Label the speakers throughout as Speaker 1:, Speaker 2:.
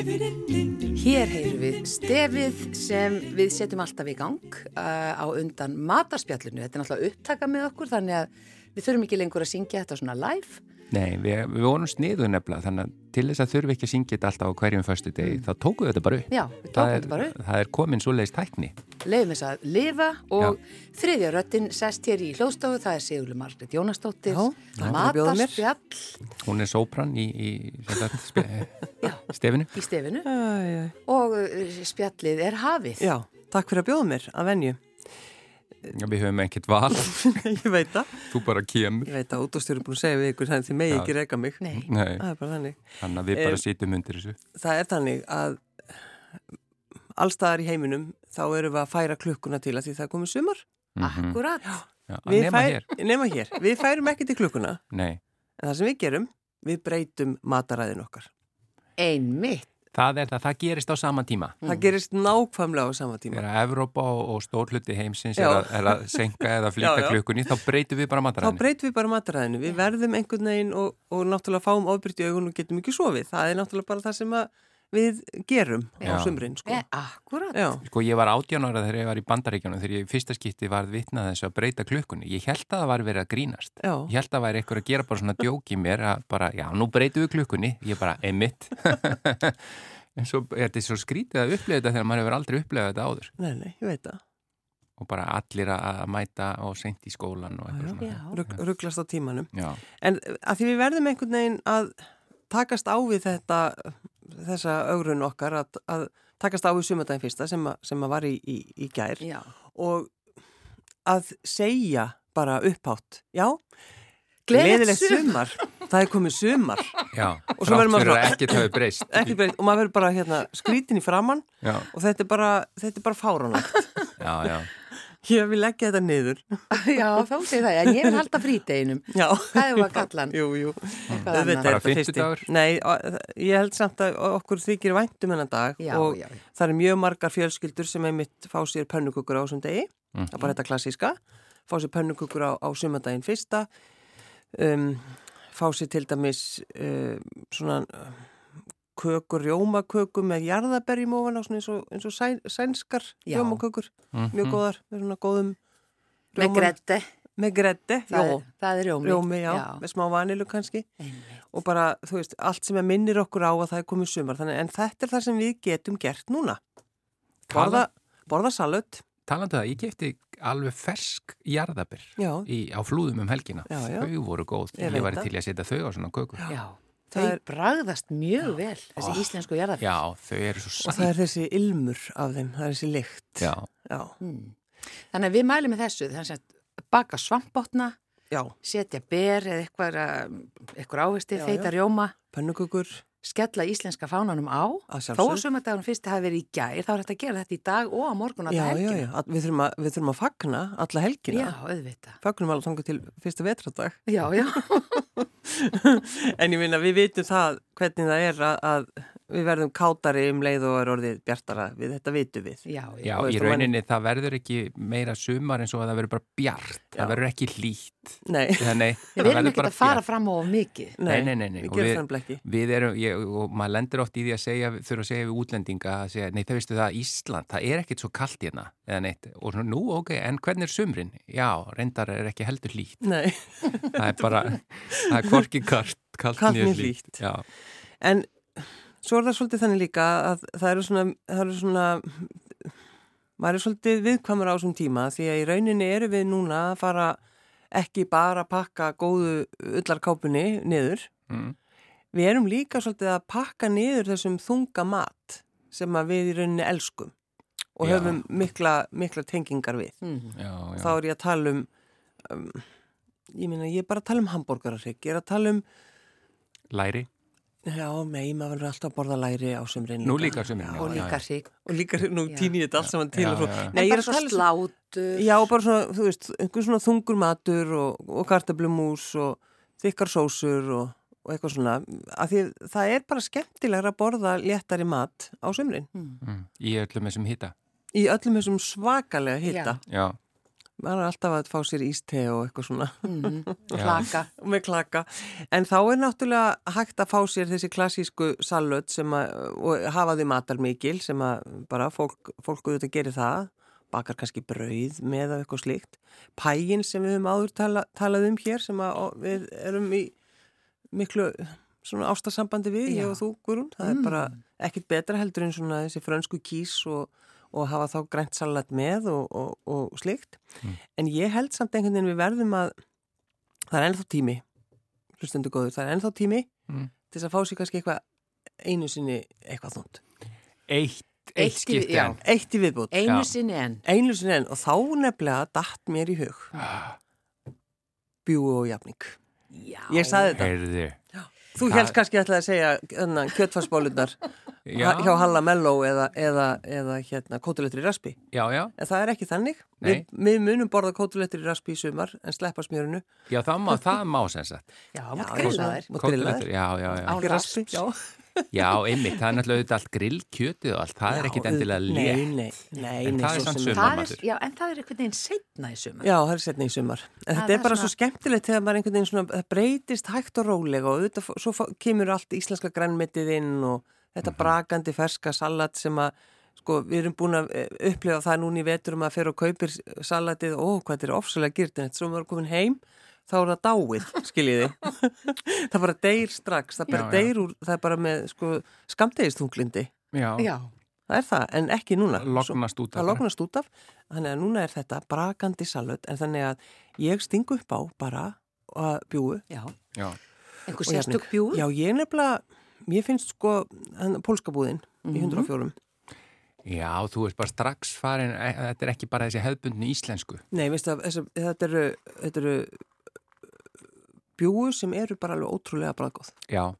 Speaker 1: Hér heyrum við stefið sem við setjum alltaf í gang uh, á undan matarspjallinu. Þetta er náttúrulega upptaka með okkur þannig að við þurfum ekki lengur að syngja þetta svona live.
Speaker 2: Nei, við, við vorum sniðu nefnilega, þannig að til þess að þurfi ekki að syngja þetta alltaf á hverjum förstu degi, þá tókum við þetta bara upp.
Speaker 1: Mm. Já, við
Speaker 2: Það
Speaker 1: tókum
Speaker 2: er-
Speaker 1: þetta bara upp.
Speaker 2: Það er komin svo leiðist tækni.
Speaker 1: Leifum þess að lifa og þriðja röttin sest hér í hljóðstofu, það er Sigurlu Margrit Jónasdóttir,
Speaker 3: Já, takk fyrir að bjóða mér.
Speaker 1: matarspjall
Speaker 2: Hún er sópran í, í sem sagt, spe-
Speaker 1: Já.
Speaker 2: stefinu.
Speaker 1: í stefinu
Speaker 3: Æ, æ.
Speaker 1: og uh, spjallið er hafið.
Speaker 3: Já, takk fyrir að bjóða mér að venju.
Speaker 2: Já, Við höfum ekkert val,
Speaker 3: ég veit það.
Speaker 2: þú bara kemur.
Speaker 3: Ég veit að útastjóri er búin að segja við ykkur þannig þið megi ekki reyka mig.
Speaker 1: Nei,
Speaker 2: Nei,
Speaker 3: Það er bara þannig.
Speaker 2: þannig að við
Speaker 1: Eh,
Speaker 2: bara sýtum undir þessu.
Speaker 3: Það er þannig að allstaðar í heiminum þá erum við að færa klukkuna til að því það er komið sumar.
Speaker 2: Mhm.
Speaker 1: akkurat.
Speaker 2: Já, að
Speaker 3: Við
Speaker 2: nema hér.
Speaker 3: Nema hér. Við færum ekki til klukkuna
Speaker 2: Nei,
Speaker 3: en það sem við gerum, við breytum mataræðin okkar.
Speaker 1: Einmitt.
Speaker 2: það er það, það gerist á sama tíma.
Speaker 1: Mm.
Speaker 3: Það gerist nákvæmlega á sama tíma.
Speaker 2: Þegar að Evrópa og, og stór hluti heimsins er
Speaker 3: Já.
Speaker 2: að, er að senka eða flýta
Speaker 3: Já, já.
Speaker 2: klukkunni, þá breytum við bara
Speaker 3: Þá
Speaker 2: mataræðinu.
Speaker 3: breytum við bara mataræðinu, við verðum einhvern veginn og, og náttúrulega fáum ofbyrti augun og getum ekki sofið. Það er náttúrulega bara það sem að við gerum á
Speaker 2: Já.
Speaker 3: sumrin. Sko.
Speaker 1: E, akkurat.
Speaker 3: Já.
Speaker 2: Sko ég var 18 ára þegar ég var í bandaríkjánum þegar ég í fyrsta skipti varð vitnað þessu að breyta klukkunni. Ég held að það var verið að grínast.
Speaker 3: Já.
Speaker 2: Ég held að það væri eitthvað að gera bara svona djók í mér að bara, já, nú breytum við klukkunni. Ég bara, emitt. en svo, þetta er svo skrítið að upplega þetta þegar maður hefur aldrei upplegað þetta áður.
Speaker 3: Nei, nei, ég veit það.
Speaker 2: Og bara allir að að mæta og seint í skólan og eitthvað svona.
Speaker 1: Já.
Speaker 3: Rugg, rugglast á tímanum.
Speaker 2: Já.
Speaker 3: En að því við verðum einhvern veginn að takast á við þetta, þessa augrun okkar, að, að takast á við sumardaginn fyrsta sem, að, sem að var í, í, í gær
Speaker 1: Já.
Speaker 3: og að segja bara upphátt, já,
Speaker 1: Gleðilegt
Speaker 3: gleðilegt sumar, það er komið sumar
Speaker 2: Já.
Speaker 3: Og svo
Speaker 2: Þrátt
Speaker 3: verður
Speaker 2: fyrir
Speaker 3: maður svona-
Speaker 2: að ekkert hafi breyst.
Speaker 3: Ekki breytt, og maður verður bara hérna skrítin í framann
Speaker 2: Já,
Speaker 3: og þetta er bara, þetta er bara fáránlegt.
Speaker 2: já, já.
Speaker 3: Ég vil leggja þetta niður.
Speaker 1: Já, þá segir það, en ég vil halda frídeginum.
Speaker 3: Já.
Speaker 1: Það var kallan.
Speaker 3: Jú, jú.
Speaker 1: Eitthvað
Speaker 3: Auðvitað
Speaker 1: annað.
Speaker 3: er
Speaker 2: Bara
Speaker 3: þetta fyrsti.
Speaker 2: fimmtudagur?
Speaker 3: Nei, á- ég held samt að okkur þykir væntum hennan dag
Speaker 1: Já,
Speaker 3: og
Speaker 1: já, já.
Speaker 3: það er mjög margar fjölskyldur sem einmitt fá sér pönnukukur á þessum degi, það er bara þetta klassíska, fá sér pönnukukur á, á sumandaginn fyrsta, um, fá sér til dæmis um, svona um, kökur, rjómakökur með jarðaberjum ofan á svona eins og, eins og sæ, sænskar
Speaker 1: Já.
Speaker 3: rjómakökur, mjög góðar, með svona góðum
Speaker 1: Með
Speaker 3: rjóma-
Speaker 1: grette,
Speaker 3: Með greddi,
Speaker 1: það,
Speaker 3: já,
Speaker 1: er- það er rjómi.
Speaker 3: rjómi, já, með smá vanilu kannski
Speaker 1: Einmitt.
Speaker 3: og bara, þú veist, allt sem er minnir okkur á að það er komið sumar, þannig en þetta er það sem við getum gert núna borða, borða salut
Speaker 2: Talandu það, ég kefti alveg fersk jarðabir
Speaker 3: já,
Speaker 2: í, á flúðum um helgina.
Speaker 3: Já, já.
Speaker 2: Þau voru góð.
Speaker 3: Ég
Speaker 2: Ég,
Speaker 3: veit
Speaker 2: var
Speaker 3: það.
Speaker 2: til í að setja þau á svona kökur.
Speaker 1: Já, þau
Speaker 3: Það er-
Speaker 1: bragðast mjög vel, þessi
Speaker 2: Oh.
Speaker 1: íslensku jarðar.
Speaker 2: Já, þau eru svo
Speaker 3: og
Speaker 2: sætt.
Speaker 3: það er þessi ilmur af þeim, það er þessi lykt
Speaker 2: Já,
Speaker 3: já,
Speaker 1: Mm. Þannig að við mælum með þessu, þannig að baka svampbotna,
Speaker 3: já.
Speaker 1: setja ber eða eitthvað, eitthvað ávesti,
Speaker 3: Já,
Speaker 1: þeita
Speaker 3: já.
Speaker 1: rjóma,
Speaker 3: pönnukökur
Speaker 1: skella íslenska fánanum á.
Speaker 3: að
Speaker 1: Þó að
Speaker 3: sjálfsög
Speaker 1: sumadagunum fyrsti hafi verið í gær, þá er þetta að gera þetta í dag og á morgun að
Speaker 3: já,
Speaker 1: það
Speaker 3: já, já, að- við þurfum, að, við þurfum að fagna alla helgina
Speaker 1: Já, auðvitað.
Speaker 3: fagnum alveg þangu til fyrsta vetradag
Speaker 1: Já, já.
Speaker 3: en ég minna, við vitum það hvernig það er að, að við verðum kátari um leið og er orðið bjartara við þetta vitum við
Speaker 1: Já,
Speaker 2: já,
Speaker 3: Og
Speaker 2: í
Speaker 3: veistu,
Speaker 2: rauninni það verður ekki meira sumar eins og að það verður bara bjart. Það verður ekki hlýtt.
Speaker 3: nei,
Speaker 2: Eða nei,
Speaker 1: Við
Speaker 2: það
Speaker 1: erum
Speaker 2: verður
Speaker 1: ekkert
Speaker 2: bara
Speaker 1: að fara
Speaker 2: bjart.
Speaker 1: fram á of mikið.
Speaker 2: Nei, nei, nei, nei.
Speaker 3: við
Speaker 2: Og
Speaker 3: gerum
Speaker 2: við-
Speaker 3: þannig blekki
Speaker 2: Við erum, ég, og maður lendur oft í því að segja, þurfa að segja við útlendinga, að segja, nei það veistu það, Ísland, það er ekkert svo kallt hérna, eða neitt, og svona, nú, ok, en hvernig er sumrin? Já, reyndar er ekki heldur hlýtt.
Speaker 3: nei
Speaker 2: það er bara, það er hvorki kalt, kalt,
Speaker 3: Kalt
Speaker 2: né
Speaker 3: né hlýtt.
Speaker 2: Já,
Speaker 3: En svo er það svolítið þannig líka að það eru svona, það eru svona maður er svolítið viðkvamur á þessum tíma því að í rauninni eru við núna að fara ekki bara að pakka góðu ullarkápunni niður.
Speaker 2: mm.
Speaker 3: Við erum líka svolítið að pakka niður þessum þunga mat sem að við í rauninni elskum og
Speaker 2: Já.
Speaker 3: höfum mikla, mikla tengingar við.
Speaker 1: Mm.
Speaker 2: já, já.
Speaker 3: Þá er ég að tala um, um ég meina ég er bara að tala um hambúrgararrygg, ég er að tala um
Speaker 2: Læri.
Speaker 3: Já, mei, maður verður alltaf að borða læri á sumrin
Speaker 2: Nú líka á sumrin, já.
Speaker 1: Og líka hrygg.
Speaker 3: Og líka nú
Speaker 1: Já.
Speaker 3: týni ég þetta allt saman til
Speaker 2: Já,
Speaker 3: og svo.
Speaker 2: já, já.
Speaker 3: Nei, ég er að
Speaker 1: bara
Speaker 3: tala um-
Speaker 1: slátur.
Speaker 3: Já, bara svona, þú veist, einhver svona þungur matur og, og kartablumús og þykkar sósur og, og eitthvað svona. Af því
Speaker 2: Hmm.
Speaker 3: það er bara skemmtilegra að borða léttari mat á sumrin.
Speaker 2: Mm. Í öllum þessum hýta.
Speaker 3: í öllum þessum svakalega hitta.
Speaker 2: já,
Speaker 3: Maður er alltaf að fá sér íste og eitthvað svona
Speaker 1: Mm, klaka.
Speaker 3: með klaka. En þá er náttúrulega hægt að fá sér þessi klassísku salöt sem að, og hafa því matar mikil sem að bara fólk, fólk auðvitað gerir það, bakar kannski brauð með af eitthvað slíkt. Pægin sem við höfum áður tala, talað um hér sem að ó- við erum í miklu svona ástasambandi við,
Speaker 1: Já.
Speaker 3: ég og þú, Guðrún. Það er bara ekkit betra heldur en svona þessi frönsku kís og, og hafa þá grænt salat með og, og, og slíkt. En ég held samt einhvern veginn við verðum að það er ennþá tími hlustundu góður, það er ennþá tími
Speaker 2: Mm.
Speaker 3: til þess að fá sér kannski eitthvað einu sinni eitthvað þúnd.
Speaker 2: eitt,
Speaker 1: Eitt
Speaker 2: eitt
Speaker 1: í-
Speaker 2: skipti
Speaker 1: já.
Speaker 2: enn.
Speaker 3: Eitt í viðbútt.
Speaker 1: Einu
Speaker 2: Já.
Speaker 1: sinni enn.
Speaker 3: Einu sinni enn og þá nefnilega datt mér í hug.
Speaker 2: Ah.
Speaker 3: Bjú og jafning.
Speaker 1: Já.
Speaker 3: Ég saði þetta.
Speaker 2: Heyrðu,
Speaker 3: Þú
Speaker 2: Það-
Speaker 3: helst kannski ætlaði að segja kjötfarsbólunar
Speaker 2: já,
Speaker 3: hjá Halla Mello eða, eða, eða hérna, kótuletri raspi.
Speaker 2: já, já,
Speaker 3: En það er ekki þannig.
Speaker 2: Nei.
Speaker 3: Við, við munum borða kótuletri raspi í sumar en sleppa smjörinu.
Speaker 2: já, það má, það má sem sagt.
Speaker 1: Já, þú mátt
Speaker 3: Já,
Speaker 1: grilla
Speaker 3: já.
Speaker 1: þær.
Speaker 3: Má grilla þær.
Speaker 2: Koteletter, Já, já, já.
Speaker 1: Á
Speaker 3: Ekki
Speaker 1: rasp.
Speaker 3: raspi. Já.
Speaker 2: Já, einmitt, það er náttúrulega auðvitað allt grillkjötið og allt, það er ekkit
Speaker 3: Já,
Speaker 2: endilega
Speaker 3: auð-
Speaker 2: létt.
Speaker 3: Nei, nei, nei,
Speaker 2: En
Speaker 3: nei.
Speaker 2: það er
Speaker 3: svo
Speaker 2: samt
Speaker 3: sem
Speaker 2: sumar.
Speaker 1: Það er,
Speaker 2: matur.
Speaker 1: já, en það er einhvern veginn seinna í sumar.
Speaker 3: Já, það er setna í sumar. En
Speaker 1: Það-
Speaker 3: þetta
Speaker 1: það
Speaker 3: er
Speaker 1: er
Speaker 3: bara
Speaker 1: svona-
Speaker 3: svo skemmtilegt þegar maður einhvern veginn svona, það breytist hægt og rólega og auðvitað, fó- svo fó- kemur allt íslenska grænmetið inn og
Speaker 2: Mhm.
Speaker 3: þetta brakandi ferska salat sem að, sko, við erum búin að eh, upplifa það núna í veturum að fyrir og kaupir salatið, ó, hvað þetta er ofsalega gyrt, en þetta svo maður er komin heim, þá er það dáið, skiljiði. það bara deyr strax, það bara
Speaker 2: Já, já.
Speaker 3: deyr úr, það er bara með, sko, skamdegistunglindi.
Speaker 2: Já,
Speaker 1: Já.
Speaker 3: Það er það, en ekki núna. Svo-
Speaker 2: lognast út af
Speaker 3: það
Speaker 2: það.
Speaker 3: lognast út af þannig að núna er þetta brakandi salut en þannig að ég sting upp á bara að bjúu
Speaker 1: Já.
Speaker 2: Já,
Speaker 1: Einhver
Speaker 3: og jafning.
Speaker 1: sérstök bjúð.
Speaker 3: já ég nefnilega, ég finnst sko hann, pólska búðin
Speaker 1: Mhm.
Speaker 3: í 104
Speaker 2: já, þú ert bara strax farin, e- þetta er ekki bara þessi hefðbundni íslensku.
Speaker 3: nei veistu að þessi, þetta eru, þetta eru bjúu sem eru bara alveg ótrúlega bragóð
Speaker 2: Já,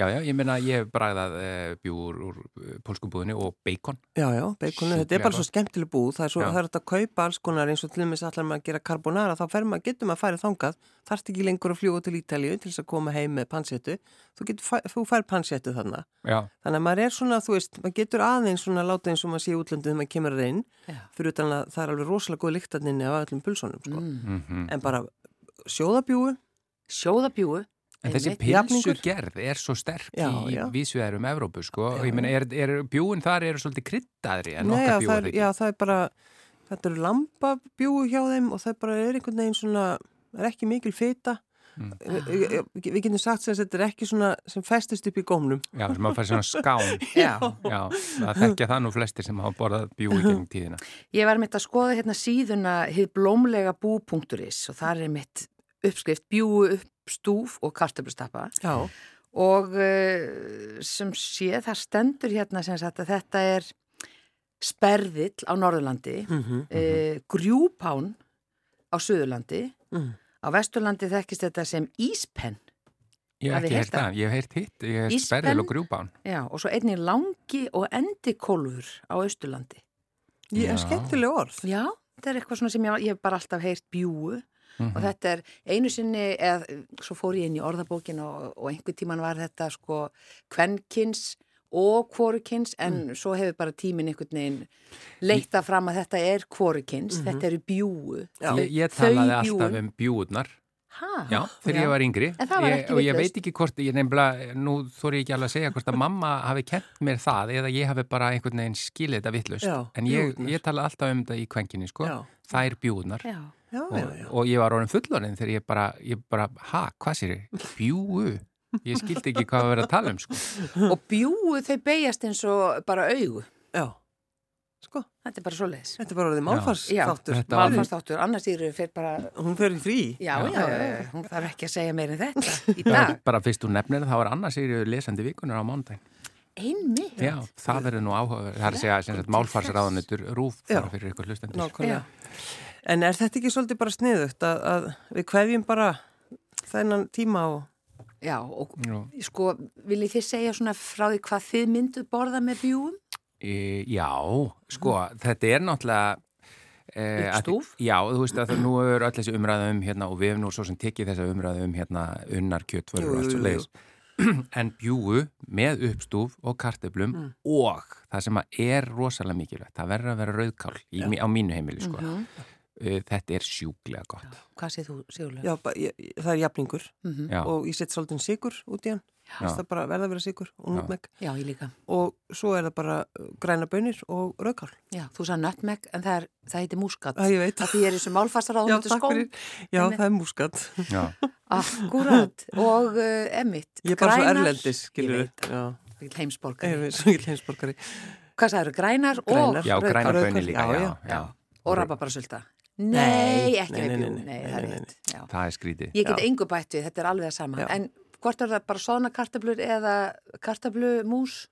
Speaker 2: já, já, ég meina ég hef bragðað uh, bjúr úr uh, pólskubúðinu og beikon.
Speaker 3: já já, beikonu, þetta
Speaker 2: Sjúklega
Speaker 3: er bara svo
Speaker 2: gott.
Speaker 3: skemmtileg búð það er, svo,
Speaker 2: Já.
Speaker 3: það er hægt að kaupa alls konar eins og til dæmis allar maður að gera carbonara þá fer maður, getur maður að færa þangað þarft ekki lengur að fljúa til Ítalíu til þess að koma heim með panséttu þú, getur fæ- þú fær panséttu þannig
Speaker 2: Já,
Speaker 3: Þannig að maður er svona, þú veist, maður getur aðeins svona láta eins og maður sé í útlöndið þegar maður kemur að inn,
Speaker 1: Já.
Speaker 3: fyrir utan að það er alveg rosalega góð lyktarninni af öllum pulsónum, sko.
Speaker 1: Mm.
Speaker 2: mm
Speaker 3: En bara sjóðabjúu,
Speaker 1: Sjóðabjúu.
Speaker 2: en þessi
Speaker 1: Einmitt.
Speaker 2: pilsu
Speaker 3: Jafningur.
Speaker 2: gerð er svo sterk
Speaker 3: Já,
Speaker 2: í
Speaker 3: já.
Speaker 2: vísuðarum Evrópu, sko.
Speaker 3: Já,
Speaker 2: og ég meina, er, er, bjúin þar eru svolítið kryddaðri en
Speaker 3: já,
Speaker 2: okkar
Speaker 3: það
Speaker 2: bjúar
Speaker 3: er,
Speaker 2: ekki.
Speaker 3: já, það er bara, þetta eru lambabjúu hjá þeim og það bara er einhvern veginn svona, það er ekki mikil fita.
Speaker 2: Mm.
Speaker 3: Við- Við við getum sagt sem að þetta er ekki svona sem festist upp í gómnum.
Speaker 2: Já, sem að fara svona skán.
Speaker 1: Já.
Speaker 2: Já, það þekkja það nú flestir sem hafa borðað bjúi
Speaker 3: Uh-huh.
Speaker 2: gegn tíðina.
Speaker 1: Ég var mitt að skoða hérna síðuna hið blómlega bú.is og þar er mitt uppskrift bjúu upp stúf og kartöflustappa
Speaker 3: Já,
Speaker 1: og uh, sem sé það stendur hérna sem sagt að þetta er sperðill á Norðurlandi, mm
Speaker 3: Mhm.
Speaker 1: grjúpán á Suðurlandi,
Speaker 3: Mm.
Speaker 1: á Vesturlandi þekkist þetta sem íspenn
Speaker 2: Ég hef
Speaker 1: Hafið
Speaker 2: ekki
Speaker 1: heyrt
Speaker 2: heyrt
Speaker 1: það?
Speaker 2: það, ég hef heyrt hitt, ég hef heyrt
Speaker 1: Íspenn?
Speaker 2: sperðil og grjúbán.
Speaker 1: Já, og svo einnig langi og endikólfur á Austurlandi.
Speaker 3: ég er
Speaker 2: Já.
Speaker 3: skemmtileg orð.
Speaker 1: Já, þetta er eitthvað svona sem ég, ég hef bara alltaf heyrt bjúu
Speaker 2: Mhm.
Speaker 1: og þetta er einu sinni, eða svo fór ég inn í orðabókin og, og einhver tíman var þetta sko kvenkins og kvorukins
Speaker 2: Mm.
Speaker 1: en svo hefur bara tíminn einhvern veginn leita fram að þetta er kvorukins, þetta eru bjúu.
Speaker 2: Ég, Mhm. ég talaði alltaf um bjúurnar,
Speaker 1: Hæ?
Speaker 2: já, þegar ég var yngri.
Speaker 1: En það var
Speaker 2: ég,
Speaker 1: ekki
Speaker 2: og ég
Speaker 1: vitlaust.
Speaker 2: veit ekki hvort, ég nefnilega, nú þóri ég ekki alveg að segja hvort að mamma hafi kent mér það eða ég hafi bara einhvern veginn skilið þetta vittlust.
Speaker 3: Já,
Speaker 2: En ég,
Speaker 3: bjúgurnar.
Speaker 2: ég talaði alltaf um þetta í kvenkinni, sko.
Speaker 3: Já.
Speaker 2: Það er bjúurnar.
Speaker 1: Já.
Speaker 3: Já,
Speaker 2: Og,
Speaker 3: já, já.
Speaker 2: og ég var orðin fullorinn þegar ég bara, ég bara, ha, hvað sér ég? Bjúu. Ég skildi ekki hvað að vera að tala um, sko.
Speaker 1: Og bjúu þau beigjast eins og bara augu.
Speaker 3: já. Sko,
Speaker 1: Þetta er bara svo leiðis.
Speaker 3: þetta er bara orðið
Speaker 2: Já.
Speaker 1: Já.
Speaker 3: málfarsþáttur.
Speaker 2: Þetta var-
Speaker 1: Málfarsdáttur, annars eru fyrir bara
Speaker 3: Hún fer í
Speaker 1: Já,
Speaker 3: frí.
Speaker 2: Já.
Speaker 1: já, já, já, hún þarf ekki að segja meir en þetta í dag.
Speaker 2: Bara fyrst úr nefnir þá er annars er lesandi vikunar á mándaginn.
Speaker 1: Einmitt.
Speaker 2: Já, það verður nú áhugaverð, það er að segja sem sagt málfarsráðunitur rúf
Speaker 3: Já.
Speaker 2: bara fyrir ykkur hlustendur.
Speaker 3: Nákvæmlega. En er þetta ekki svolítið bara sniðugt að, að við kveðjum bara þennan tíma og...
Speaker 1: Já, og
Speaker 2: Nú,
Speaker 1: sko, viljið þið segja svona frá því hvað þið myndu borða með bjúum?
Speaker 2: e, já, sko, þetta er náttúrulega... E,
Speaker 1: Uppstúf?
Speaker 2: Að, já, þú veist að það, nú er öll þessi umræða um hérna og við hefum nú svo sem tekið þessa umræða um hérna unnar kjötvörur
Speaker 3: Jú,
Speaker 2: og allt
Speaker 3: jú, Mm.
Speaker 2: svo leiðis. en bjúgu með uppstúf og kartöflum og það sem að er rosalega mikilvægt, það verður að vera rauðkál í, mi- á mínu heimili sko.
Speaker 3: Mhm.
Speaker 2: Uh, Þetta er sjúklega gott.
Speaker 1: Hvað segir þú, Sigurlega?
Speaker 3: Já, ba- ég- ég- það er jafningur
Speaker 2: Já,
Speaker 3: Mhm. og ég sett svolítið sigur út í hann. Þess Það bara verða að vera sigur og
Speaker 2: Já.
Speaker 3: nutmeg.
Speaker 1: Já, ég líka.
Speaker 3: Og svo er það bara uh, græna bönir og rauðkál.
Speaker 1: Já, þú sagði nutmeg, en það, er, það heitir múskat.
Speaker 3: Það ég veit.
Speaker 1: Það því ég er þessu málfastar á
Speaker 3: Já,
Speaker 1: hundu
Speaker 3: takk
Speaker 1: skóm.
Speaker 3: fyrir. Já,
Speaker 1: Einmitt.
Speaker 3: það er múskat.
Speaker 2: já.
Speaker 1: Akkurat. Og uh, emitt.
Speaker 3: Ég er bara svo erlendis, skilur
Speaker 1: Ég veit, mikill heimsborgari.
Speaker 3: Ég er svo ekki heimsborgari.
Speaker 1: Hvað sagður, grænar,
Speaker 3: Grænar.
Speaker 1: og
Speaker 2: já
Speaker 1: rauðkál?
Speaker 2: græna
Speaker 3: rauðkál,
Speaker 2: bönni líka,
Speaker 3: já,
Speaker 2: já,
Speaker 3: já.
Speaker 2: já,
Speaker 1: Og rababarasölda. Nei, ekki
Speaker 3: nei,
Speaker 1: með
Speaker 3: nei,
Speaker 1: bjú. Nei,
Speaker 3: nei, nei, nei,
Speaker 1: það er
Speaker 3: nei,
Speaker 1: rétt. Já.
Speaker 2: Það er skrítið.
Speaker 1: Ég get
Speaker 3: Já.
Speaker 1: engu bætt við, þetta er alveg það sama.
Speaker 3: Já.
Speaker 1: En hvort er það bara svona kartablur eða kartablumús?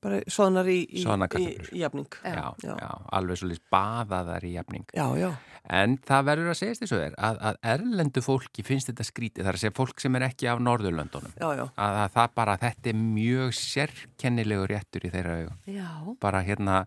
Speaker 3: Bara soðnar í, í,
Speaker 2: Soðnar
Speaker 3: í,
Speaker 2: kartöflur.
Speaker 3: í jafning.
Speaker 1: Já.
Speaker 2: Já,
Speaker 3: Já.
Speaker 2: já, alveg svolítið baðaðar í jafning.
Speaker 3: Já, já.
Speaker 2: En það verður að segjast þessu er að, að erlendu fólki finnst þetta skrítið, það er að segja fólk sem er ekki af Norðurlöndunum.
Speaker 3: Já, já.
Speaker 2: Að, að það bara, þetta er mjög sérkennilegu réttur í þeirra augum.
Speaker 1: Já.
Speaker 2: Bara hérna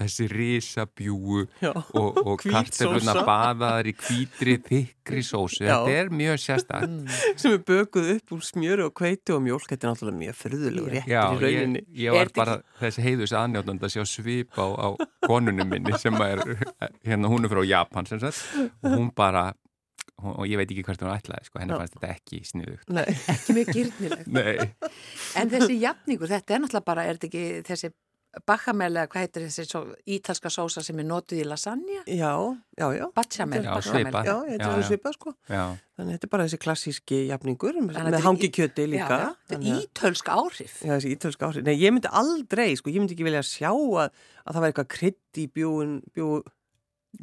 Speaker 2: þessi risabjúu
Speaker 3: Já.
Speaker 2: og, og
Speaker 3: Hvít
Speaker 2: kartefluna
Speaker 3: sósa.
Speaker 2: baðaðar í hvítri, þykri sósu.
Speaker 3: Já.
Speaker 2: Þetta er mjög sérstakt.
Speaker 3: Sem er bökuð upp úr smjöru og kveiti og mjólk. Þetta er náttúrulega mjög fyrðulegur réttur
Speaker 2: Já,
Speaker 3: í
Speaker 2: ég,
Speaker 3: rauninni.
Speaker 2: ég
Speaker 1: Er
Speaker 2: var
Speaker 1: þetta
Speaker 2: bara þessi heiðus aðnjóðnand að sjá svip á, á konunum minni sem er, hérna hún er frá Japan sem sagt og hún bara, hún, og ég veit ekki hvert hún ætlaði, sko, henni
Speaker 3: Já.
Speaker 2: fannst þetta ekki sniðugt.
Speaker 3: Nei,
Speaker 1: Ekki mjög gyrnilegt.
Speaker 2: Nei.
Speaker 1: En þessi jafningur, þetta er náttúrulega bara, er þetta ekki þessi bachamel eða hvað heitir þessi svo, ítalska sósa sem er notuð í lasagna?
Speaker 3: já, já, já.
Speaker 1: Bachamel.
Speaker 2: Já,
Speaker 1: bachamel.
Speaker 2: svipað.
Speaker 3: Já, þetta
Speaker 2: Já,
Speaker 3: er
Speaker 2: já.
Speaker 3: alveg svipað sko.
Speaker 2: Já,
Speaker 3: Þannig þetta er bara þessi klassíski jafningur
Speaker 1: Þannig að
Speaker 3: með
Speaker 1: þetta er í-
Speaker 3: hangikjöti líka.
Speaker 1: Já, já. Þetta
Speaker 3: Þannig
Speaker 1: er
Speaker 3: að-
Speaker 1: ítölsk áhrif.
Speaker 3: Já, þessi ítölska áhrif. Nei, ég myndi aldrei, sko, ég myndi ekki vilja sjá að, að það væri eitthvað krydd í bjúin, bjú,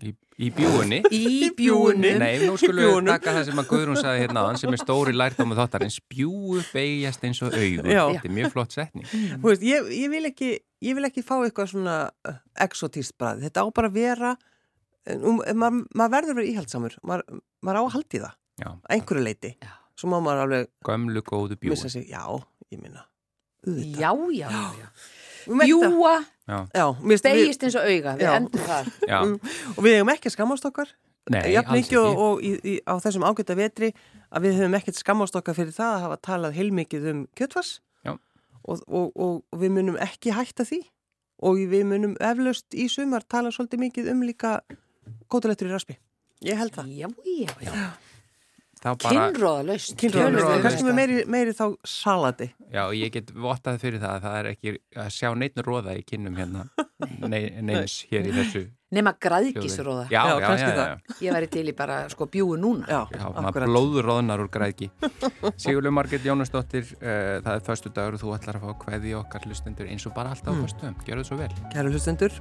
Speaker 2: í, í bjúunni.
Speaker 1: Í
Speaker 3: bjúgunni.
Speaker 1: bjúunum.
Speaker 2: Nei, nú skulum við
Speaker 3: bjúgunum.
Speaker 2: taka það sem að Guðrún saði hérna aðan sem er stóri lærdómu þáttar en spjúu beigjast eins og augun.
Speaker 3: Já.
Speaker 2: Þetta er mjög flott setning.
Speaker 3: þú veist, ég, ég vil ekki, ég vil ekki fá eitthvað svona uh, exotíst bræð. Þetta á bara að vera, en um, en maður maður verður að vera íhaldsamur, maður, maður á að haldi það,
Speaker 2: Já,
Speaker 3: að einhverju leiti.
Speaker 1: Já.
Speaker 3: Svo má maður alveg
Speaker 2: gömlu góðu
Speaker 3: missa
Speaker 2: bjúu.
Speaker 3: sig, já, ég minna, auðvitað.
Speaker 1: Já, já, já. já.
Speaker 3: Við megum þetta-
Speaker 1: Bjúa,
Speaker 3: Já, mér finnst við-
Speaker 1: beigist eins og auga, við
Speaker 3: Já.
Speaker 1: endum þar.
Speaker 2: Já,
Speaker 3: Mm, og við hefum ekki að skammast okkar
Speaker 2: nei,
Speaker 3: jafn
Speaker 2: alls
Speaker 3: mikið og,
Speaker 2: ekki.
Speaker 3: og í, í, á þessum ágæta vetri að við höfum ekkert skammast okkar fyrir það að hafa talað heilmikið um kjötfars
Speaker 2: Já.
Speaker 3: og, og, og, og við munum ekki hætta því og við munum eflaust í sumar tala svolítið mikið um líka kótalettur í raspi. Ég held það.
Speaker 1: Já, já, já.
Speaker 2: Þá bara,
Speaker 1: Kinnróðalaust.
Speaker 3: Kynraður,
Speaker 2: Kynraðalaust.
Speaker 3: kannski með meiri, meiri þá salati.
Speaker 2: já, ég get vottað fyrir það að það er ekki að sjá neittn róða í kinnum hérna, nei, neins hér í þessu.
Speaker 1: Nefna
Speaker 2: hljóði.
Speaker 1: græðgisróða.
Speaker 2: Já,
Speaker 3: Já,
Speaker 2: já, já,
Speaker 3: kannski
Speaker 2: já,
Speaker 3: það.
Speaker 2: já.
Speaker 1: Ég væri til í bara sko bjúu núna.
Speaker 3: Já,
Speaker 2: Já, maður
Speaker 3: akkurat.
Speaker 2: blóður róðnar úr græðki. Sigurlu Margit Jónasdóttir, uh, það er förstu dagur og þú ætlar að fá
Speaker 3: Mm.
Speaker 2: kveði okkar hlustendur eins og bara alltaf á förstum. Gjörðu svo vel.
Speaker 3: Kæru hlustendur,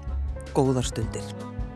Speaker 3: góðar stundir.